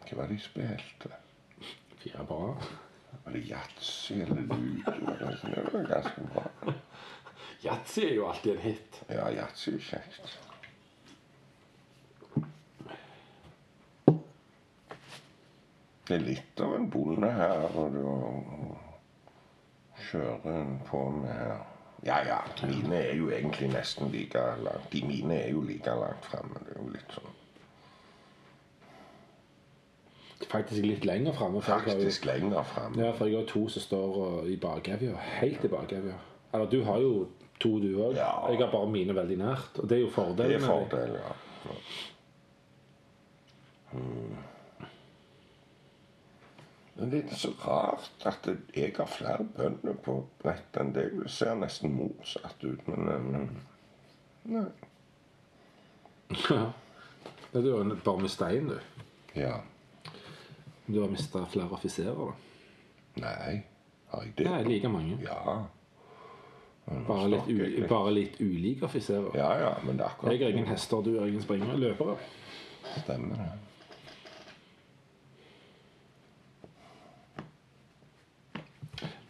C: Hva var det de spilte?
B: Fire bra.
C: Var det yatzy eller ludo? eller noe sånt? Det var ganske bra.
B: Yatzy er jo alltid en hit.
C: Ja, yatzy er kjekt. Det er litt av en bonde her, altså, og du kjører en på med her. Ja, ja, mine er jo egentlig nesten like langt. De mine er jo like langt framme. Det er jo litt sånn
B: Faktisk litt lenger framme.
C: faktisk lenger framme.
B: Ja, for jeg har to som står uh, i bakevja. Helt i bakevja. Eller du har jo to, du òg.
C: Ja.
B: Jeg har bare mine veldig nært. Og det er jo
C: Det
B: fordelen.
C: er
B: med det.
C: fordel, ja. Mm. Men det er så rart at jeg har flere bønder på nett enn deg. Du ser nesten motsatt ut, men, eh, men Nei.
B: Ja, Du har bare mista én, du.
C: Ja.
B: Du har mista flere offiserer, da.
C: Nei. Har jeg det?
B: Nei, like mange.
C: Ja.
B: Bare litt,
C: snakker jeg
B: u
C: litt.
B: bare litt ulike offiserer.
C: ja, ja, men det er akkurat
B: Jeg er egen hester, du er egen springer. Løpere.
C: stemmer, det.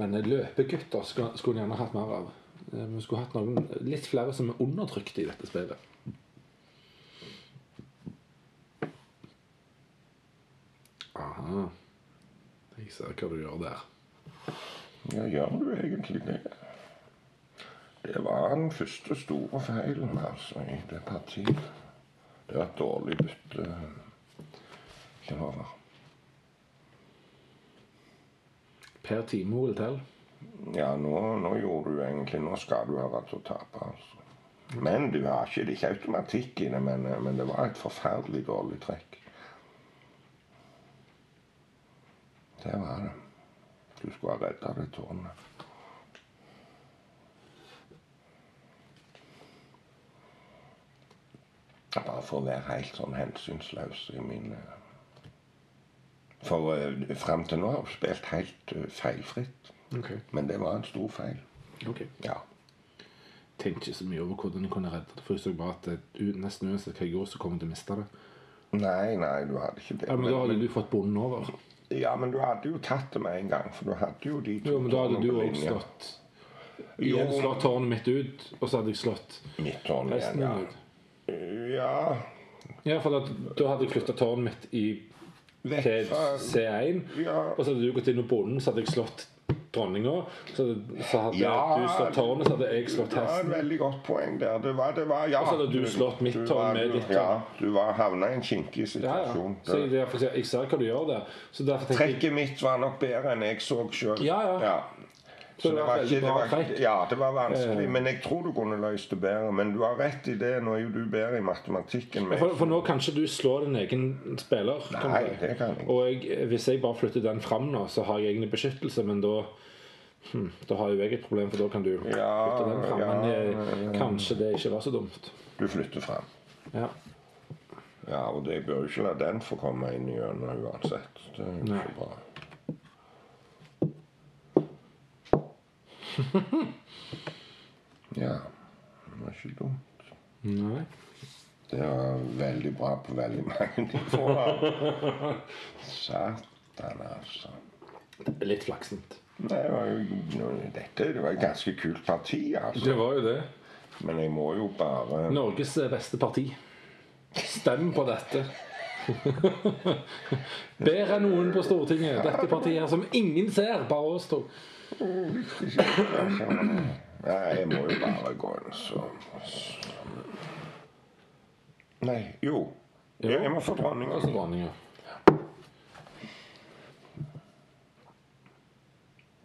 B: Men eh, løpegutter skal- skulle en gjerne hatt mer av. Eh, Vi skulle hatt noen, litt flere som er undertrykt i dette spillet. Aha. Jeg ser hva du gjør der.
C: Ja, gjør du egentlig det? Det var den første store feilen, altså, i det partiet. Det var et dårlig bytte. Ikke over.
B: Per time og hotell.
C: Ja, nå, nå gjorde du egentlig Nå skal du ha vært å tape, altså. Men du har ikke Det er ikke automatikk i det, men, men det var et forferdelig dårlig trekk. Det var det. Du skulle ha redda det tårnet. Bare for å være helt sånn hensynsløs i mine For uh, fram til nå har jeg spilt helt eh, feilfritt.
B: Ok.
C: Men det var en stor feil.
B: ok.
C: Ja.
B: Tenkte ikke så mye over hvordan jeg kunne redde det. For jeg så bare at det, u- nesten uansett hva jeg gjorde, så kommer jeg til å miste det.
C: Nei, nei, du hadde ikke det.
B: Ja, Men da hadde du fått bonden over.
C: ja, men du hadde jo tatt det med en gang, for du hadde jo de to
B: Jo, men da hadde
C: tårnene
B: du
C: på
B: òg
C: linje.
B: slått
C: Jo,
B: igjen slått tårnet mitt ut, og så hadde jeg slått
C: Mitt tårn
B: resten
C: igjen, ja.
B: min ut.
C: Ja,
B: Ja, for da, da hadde jeg flytta tårnet mitt i til
C: vekk fra
B: C1.
C: Ja.
B: Og så hadde du gått inn og bonden, så hadde jeg slått dronninga. Så, hadde- så hadde
C: Ja.
B: du slått tårnet, så hadde jeg slått
C: Det var et
B: hesten.
C: veldig godt poeng der. Det var, det var, ja.
B: Og så hadde du slått mitt
C: Du
B: tårn
C: var-
B: med ditt
C: Ja, du var havna i en kinkig
B: Ja, ja.
C: situasjon.
B: Så jeg, derfor, sier jeg jeg ser hva du gjør der. Så derfor tenkte jeg
C: Trekket mitt var nok bedre enn jeg så sjøl.
B: Ja, ja.
C: Så det var
B: et
C: ikke,
B: veldig
C: det
B: bra
C: var,
B: trekk. Eh.
C: ja, det var vanskelig, men jeg tror du kunne løst det bedre. Men du har rett i det. Nå er jo du bedre i matematikken. Men
B: For, for nå kan ikke du slå din egen spiller. kan
C: Nei,
B: du si.
C: det kan jeg ikke.
B: Og jeg, hvis jeg bare flytter den fram nå, så har jeg egentlig beskyttelse, men da hm, Da har jo jeg et problem, for da kan du
C: Ja,
B: flytte den fram.
C: ja,
B: men eh, kanskje det ikke var så dumt.
C: du flytter frem.
B: Ja.
C: Ja, og det bør jo ikke la den få komme inn i øynene uansett. Det er jo
B: Nei.
C: ikke bra. ja, det var ikke dumt.
B: Nei.
C: Det var veldig bra på veldig mange [laughs] nivåer. Satan, altså.
B: Litt flaksent.
C: Nei, det var jo, dette det var et ganske kult parti, altså.
B: Det var jo det.
C: Men jeg må jo bare
B: Norges eh, beste parti. Stem på dette. [laughs] Bedre enn noen på Stortinget. Dette partiet her som ingen ser, bare oss to.
C: Nei, jeg må jo bare gå inn, så Nei, jo. Jeg, jeg må få dronninga.
B: Altså dronninga.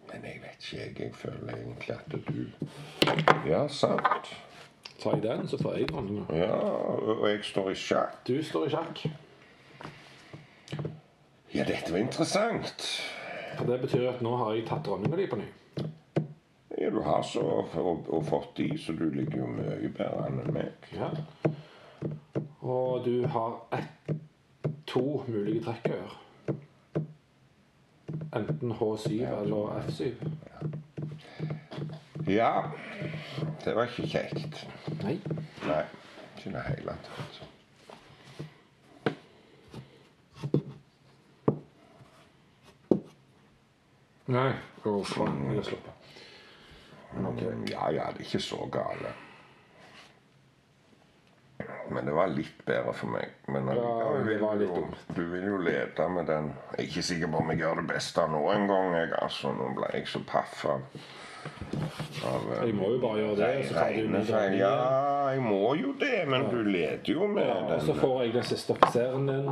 C: Men jeg vet ikke, jeg. Jeg føler egentlig at du Ja, sant.
B: Tar jeg den, så får jeg dronninga.
C: Ja, og og jeg står i sjakk.
B: Du står i sjakk.
C: Ja, dette var interessant.
B: For det betyr at nå har jeg tatt dronninga di på ny.
C: Ja, du har så og, og fått de, så du ligger jo mye bedre an enn meg.
B: Ja. Og du har ett, to mulige trekk å gjøre. Enten H7 eller F7.
C: Ja. Det var ikke kjekt.
B: Nei.
C: Nei, ikke i det hele tatt.
B: Nei. Å, faen. Jeg har sluppet.
C: Mm, Ja, ja, det er ikke så gale. Men det var litt bedre for meg. Men allikevel
B: det
C: vil
B: var
C: du
B: litt
C: jo-
B: dumt.
C: Du vil jo lede med den. Jeg er ikke sikker på om jeg gjør det beste nå engang. jeg. Altså, nå ble jeg så paff av, av eh,
B: Jeg må jo bare gjøre det. Så tar du
C: reine
B: med
C: seg.
B: dronningen.
C: Ja, jeg må jo det, men du leder jo med
B: Ja, og så
C: den.
B: får jeg den siste offiseren din,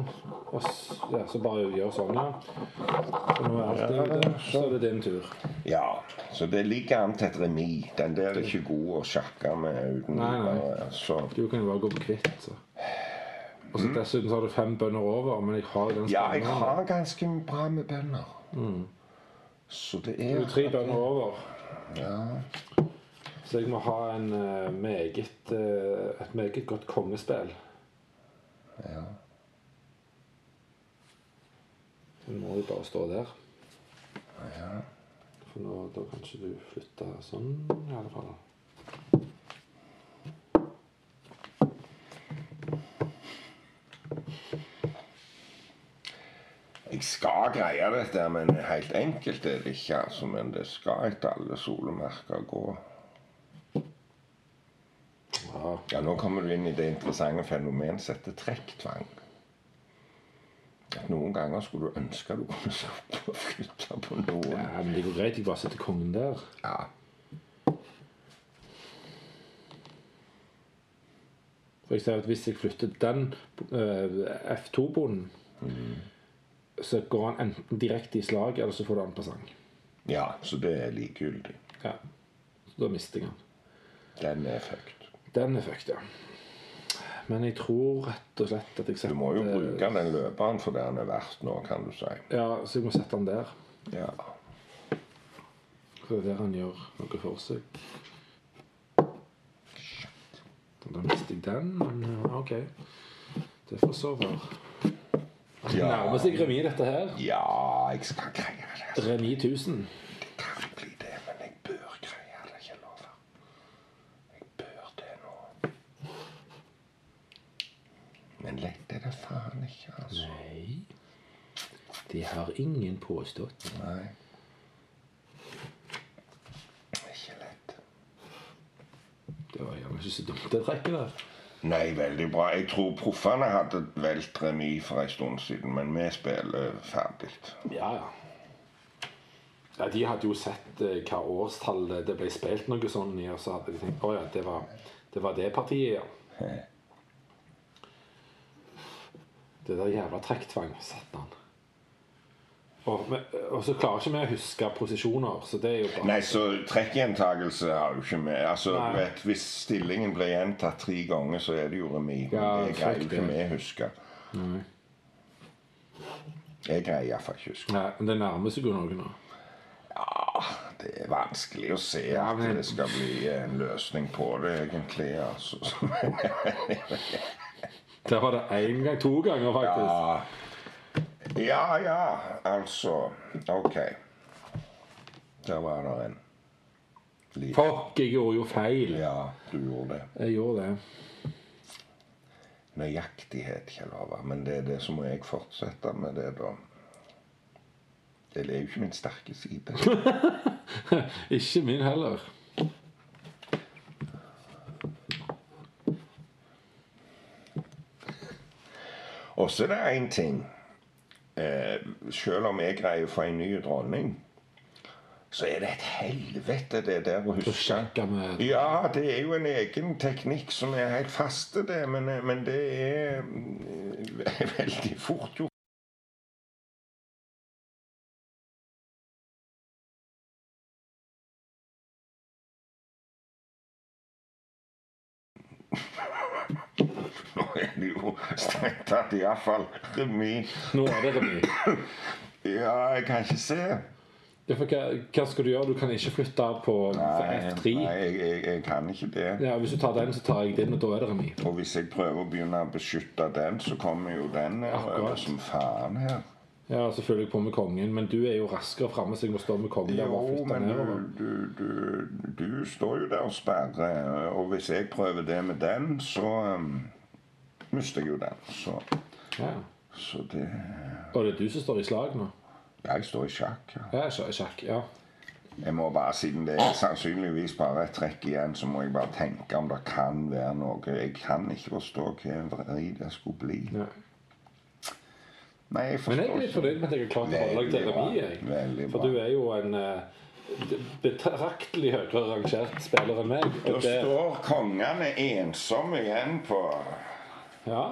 B: og s- ja, så bare gjør sånn, ja. Og nå er alt
C: Ja,
B: ute, så er sånn. det din tur.
C: Ja, så det ligger an til et remis. Den der er ikke god å sjakke med uten
B: Nei, nei.
C: videre. Så
B: Du kan jo bare gå på kvitt. Så. Og så dessuten så har du fem bønder over, men jeg har den
C: Mm. Ja, jeg
B: stemmen.
C: har ganske bra med bønder. Så det
B: Mm. Du
C: er
B: er tre bønder over,
C: ja.
B: så jeg må ha en eh, meget, eh, et meget godt kongespill.
C: Ja.
B: Så må jo bare stå der. For nå, da kan ikke du flytte sånn, i alle fall.
C: Jeg skal greie dette, men helt enkelt er det ikke. altså, Men det skal etter alle solemerker gå.
B: Ja,
C: Ja, Nå kommer du inn i det interessante fenomen som heter trekktvang. At Noen ganger skulle du ønske du kunne [laughs] stoppe og flytte på noen.
B: ja men det går greit, jeg bare setter kongen der.
C: Ja.
B: For jeg ser at hvis jeg flytter den eh, F2-bonden, Mm. så går han enten direkte i slag, eller så får du han på sang.
C: ja, så det er likegyldig.
B: Ja. Så da mister jeg han.
C: Den er fucked.
B: Den er fucked, ja. Men jeg tror rett og slett at jeg
C: Du
B: setter
C: må jo bruke den løperen for det han er verdt nå, kan du si.
B: Ja, så jeg må sette han der.
C: Ja.
B: For det er der han gjør noe for seg. Så Da mister jeg den, men ja, OK. Det får så være. Det
C: Ja.
B: Nærmer seg remis, dette her.
C: Ja, jeg skal greie det. altså.
B: Remis 1000.
C: Det kan bli det, men jeg bør greie det. Ikke lover. Jeg bør det nå. Men lett er det faen ikke, altså.
B: Nei, det har ingen påstått.
C: Nei. Ikke lett.
B: Det var gjerne ikke så dumt, det trekket der.
C: Nei, veldig bra. Jeg tror proffene hadde velt remis for en stund siden, men vi spiller ferdig.
B: Ja, ja. Ja, De hadde jo sett eh, hva årstall det- det ble spilt noe sånn i, og så hadde de tenkt å ja, det var det, var det partiet, ja. Det der jævla trekktvang, satte han. Og, men- og så klarer ikke vi å huske posisjoner, så det er jo bare
C: Nei, så trekkgjentagelse har jo ikke med Altså,
B: Nei.
C: du vet, Hvis stillingen blir gjentatt tre ganger, så er det jo remis. Men
B: Ja,
C: det greier jo
B: fuck det.
C: ikke vi å huske.
B: Nei.
C: Jeg greier iallfall ikke å huske.
B: Nei, men det nærmer seg jo noe nå.
C: Det er vanskelig å se
B: Ja,
C: at
B: men-
C: det skal bli en løsning på det, egentlig. altså. [laughs]
B: Der var det én gang, to ganger, faktisk.
C: Ja, ja, ja altså OK. Der var det en. Liten.
B: Fuck, jeg gjorde jo feil.
C: Ja, du gjorde det.
B: Jeg gjorde det.
C: Nøyaktighet, Kjell Håvard. Men det er det som må jeg fortsette med det, da. Det er jo ikke min sterke side.
B: [laughs] Ikke min heller.
C: [laughs] Og så er det én ting. Eh, selv om jeg greier å få en ny dronning, så er det et helvete, det der å
B: Så
C: huske.
B: sjekka vi
C: Ja, det er jo en egen teknikk som er helt fast til det, men, men det er mm, [laughs] veldig fort gjort. [laughs] Nå er det jo strengt tatt iallfall remis.
B: Nå er det remis.
C: Ja, jeg kan ikke se.
B: Ja, for hva, hva skal du gjøre? Du kan ikke flytte på
C: Nei,
B: F3.
C: nei jeg, jeg, jeg kan ikke det.
B: Ja, hvis du tar den, så tar jeg din, og da er det remis.
C: Og hvis jeg prøver å begynne å beskytte den, så kommer jo den nedover
B: Akkurat.
C: som faen her.
B: Ja, så følger jeg på med kongen, men du er jo raskere framme, så jeg må stå med kongen. der og bare
C: Jo,
B: flytte
C: men
B: nedover.
C: du, du, du, du står jo der og sperrer, og hvis jeg prøver det med den, så um, mister jeg jo den. Så,
B: Ja.
C: så det
B: Og det er du som står i slag nå?
C: Jeg står i sjakk. ja.
B: Ja, sj- sjakk. Ja.
C: Jeg må bare, Siden det er sannsynligvis bare et trekk igjen, så må jeg bare tenke om det kan være noe. Jeg kan ikke forstå hva en vri det skulle bli.
B: ja.
C: Nei, jeg
B: Men jeg
C: forstår
B: er litt fornøyd med at jeg har klart å holde deg til
C: Veldig bra.
B: remis. jeg.
C: Veldig
B: For
C: bra.
B: du er jo en eh, betraktelig høyere rangert spiller enn meg.
C: Da
B: Og det,
C: står kongene ensomme igjen på
B: ja,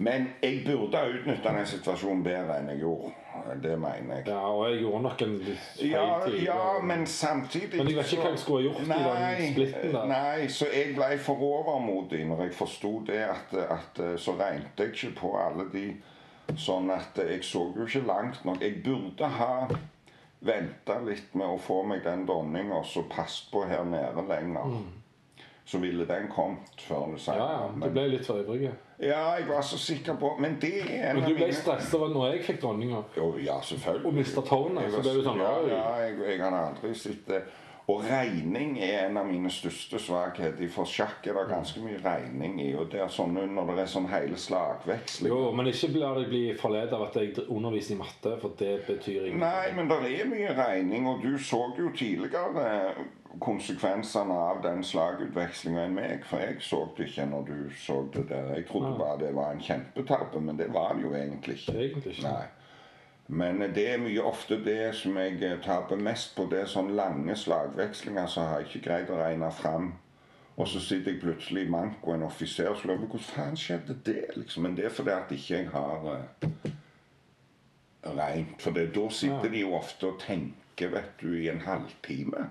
C: Men jeg burde ha utnytta den situasjonen bedre enn jeg gjorde. Det mener jeg.
B: ja, og jeg gjorde nok en feil
C: Ja,
B: tidligere.
C: ja men samtidig
B: Men jeg vet ikke
C: så-
B: hva jeg skulle ha gjort i den
C: Nei,
B: splitten der.
C: Nei, så jeg ble for overmodig når jeg forsto det at, at eh, Så regnet jeg ikke på alle de Sånn at jeg så jo ikke langt nok. Jeg burde ha venta litt med å få meg den dronninga som passet på her nede lenger. Så ville den kommet før det
B: Mm. Ja, ja,
C: senere.
B: Du ble litt for ivrig.
C: Ja, jeg var så sikker på Men det er en
B: Men
C: av
B: du ble
C: mine-
B: stressa når jeg fikk dronninga
C: Jo, ja, selvfølgelig.
B: og mista tårnet. Så
C: Jeg var-
B: ble du sånn
C: ja,
B: oi.
C: ja, jeg, jeg har aldri sett det. eh, Og regning er en av mine største svakheter. For sjakk er det ganske mye regning i. Og det er sånn når det er sånn hele liksom. slagveksling
B: Jo, men ikke la deg bli forledet av at jeg underviser i matte, for det betyr ingenting.
C: Nei, men det er mye regning, og du så jo tidligere eh, konsekvensene av den slagutvekslinga enn meg. For jeg så det ikke når du så det der. Jeg trodde bare det var en kjempetabbe, men det var det jo egentlig ikke.
B: Egentlig ikke.
C: Nei. Men det er mye ofte det som jeg eh, taper mest på. Det er sånne lange slagvekslinger så har jeg ikke greid å regne fram. Og så sitter jeg plutselig i manko en offiser og lurer på hvordan faen skjedde det? liksom. Men det er fordi at ikke jeg har eh, regnet. For det, da sitter de jo ofte og tenker, vet du, i en halvtime.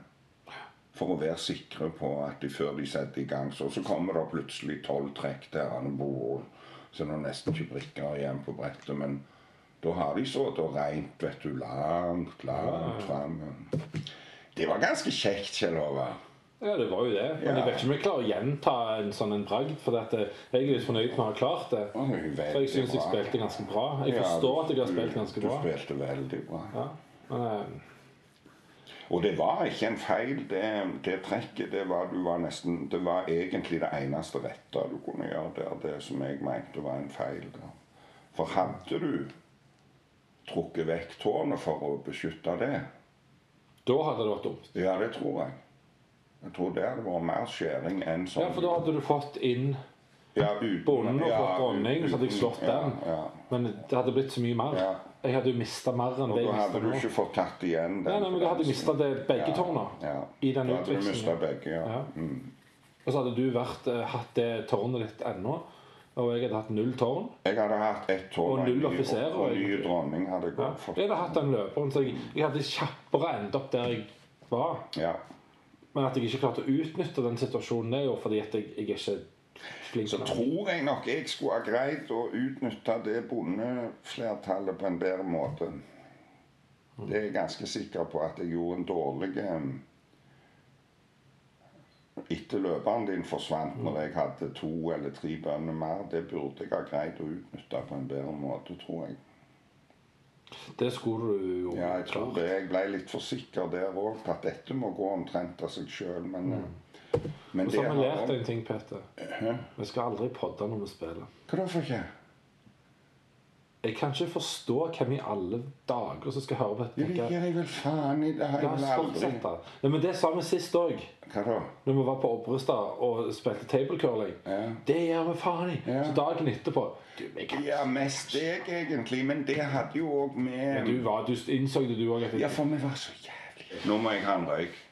C: For å være sikre på at de før de setter i gang, så, så kommer det plutselig tolv trekk til Arnebo. og Så er det nesten ikke brikker igjen på brettet. Men da har de sittet og regnet, vet du, langt, langt fram. Det var ganske kjekt, Kjell Håvard.
B: Ja, det var jo det. Men
C: Ja.
B: jeg vet ikke om jeg klarer å gjenta en sånn en bragd. For at eh, jeg er litt fornøyd med å ha klart det.
C: Oi, veldig
B: For jeg syns jeg
C: bra.
B: spilte ganske bra. Jeg
C: Ja,
B: forstår at jeg har
C: du-
B: spilt ganske bra.
C: Du spilte veldig bra.
B: Ja. Men, eh,
C: Og det var ikke en feil. Det, det trekket det var, du var nesten, det var egentlig det eneste rette du kunne gjøre der. Det som jeg mente var en feil. da. For hadde du trukket vekk tårnet for å beskytte det
B: da hadde det vært dumt.
C: Ja, det tror jeg. Jeg tror det hadde vært mer skjæring enn sånn.
B: Ja, for da hadde du fått inn
C: Ja, uten-
B: bonden og fått
C: ja,
B: dronning, så hadde jeg
C: uten-
B: slått
C: ja,
B: den.
C: Ja.
B: Men det hadde blitt så mye mer.
C: Ja.
B: Jeg hadde jo mista mer enn
C: Og
B: det
C: da
B: jeg
C: hadde
B: mista
C: du
B: nå.
C: ikke fått tatt igjen den.
B: Nei, nei, men da hadde jeg mista begge
C: Ja,
B: tårna
C: ja.
B: i den
C: Da hadde du mista
B: utvekslingen.
C: begge, ja.
B: Ja.
C: Mm.
B: Og så hadde du vært, eh, hatt det tårnet ditt ennå, og jeg hadde hatt null tårn.
C: Jeg hadde hatt ett tårn
B: Og
C: en
B: null
C: ny-
B: offiserer,
C: Og en ny
B: egentlig.
C: dronning hadde jeg
B: Ja.
C: også fått.
B: Jeg hadde hatt den løperen, så jeg, jeg hadde kjappere endt opp der jeg var.
C: Ja.
B: Men at jeg ikke klarte å utnytte den situasjonen, det er jo fordi at jeg, jeg er ikke flink
C: Så
B: nok.
C: tror jeg nok jeg skulle ha greid å utnytte det bondeflertallet på en bedre måte. Det er jeg ganske sikker på at jeg gjorde en dårlig em, Etter løperen din forsvant når jeg hadde to eller tre bønder mer. Det burde jeg ha greid å utnytte på en bedre måte, tror jeg.
B: Det skulle du jo
C: Ja, jeg tror
B: klart.
C: det. Jeg ble litt for sikker der òg på at dette må gå omtrent av seg sjøl, men,
B: Mm.
C: eh, men
B: Og så har vi
C: har
B: lært
C: også-
B: en ting, Peter.
C: Hæ?
B: Vi skal aldri podde når vi spiller.
C: Hva da for ikke?
B: Jeg kan ikke forstå hvem i alle dager som skal høre på dette.
C: Jeg gir
B: tenke,
C: deg vel faen i det har
B: La
C: jeg
B: oss
C: vel aldri
B: fortsette. Ja, men det sa vi sist òg,
C: Hva da?
B: når vi var på Opprustad og spilte table curling.
C: Ja.
B: Det gjør vi faen i!
C: Ja.
B: Så dagen etterpå Du, jeg kan.
C: Ja, mest deg egentlig, men det hadde jo òg
B: du,
C: med
B: var, du innså det, du òg.
C: Ja, for vi var så jævlig Nå må jeg ha en røyk.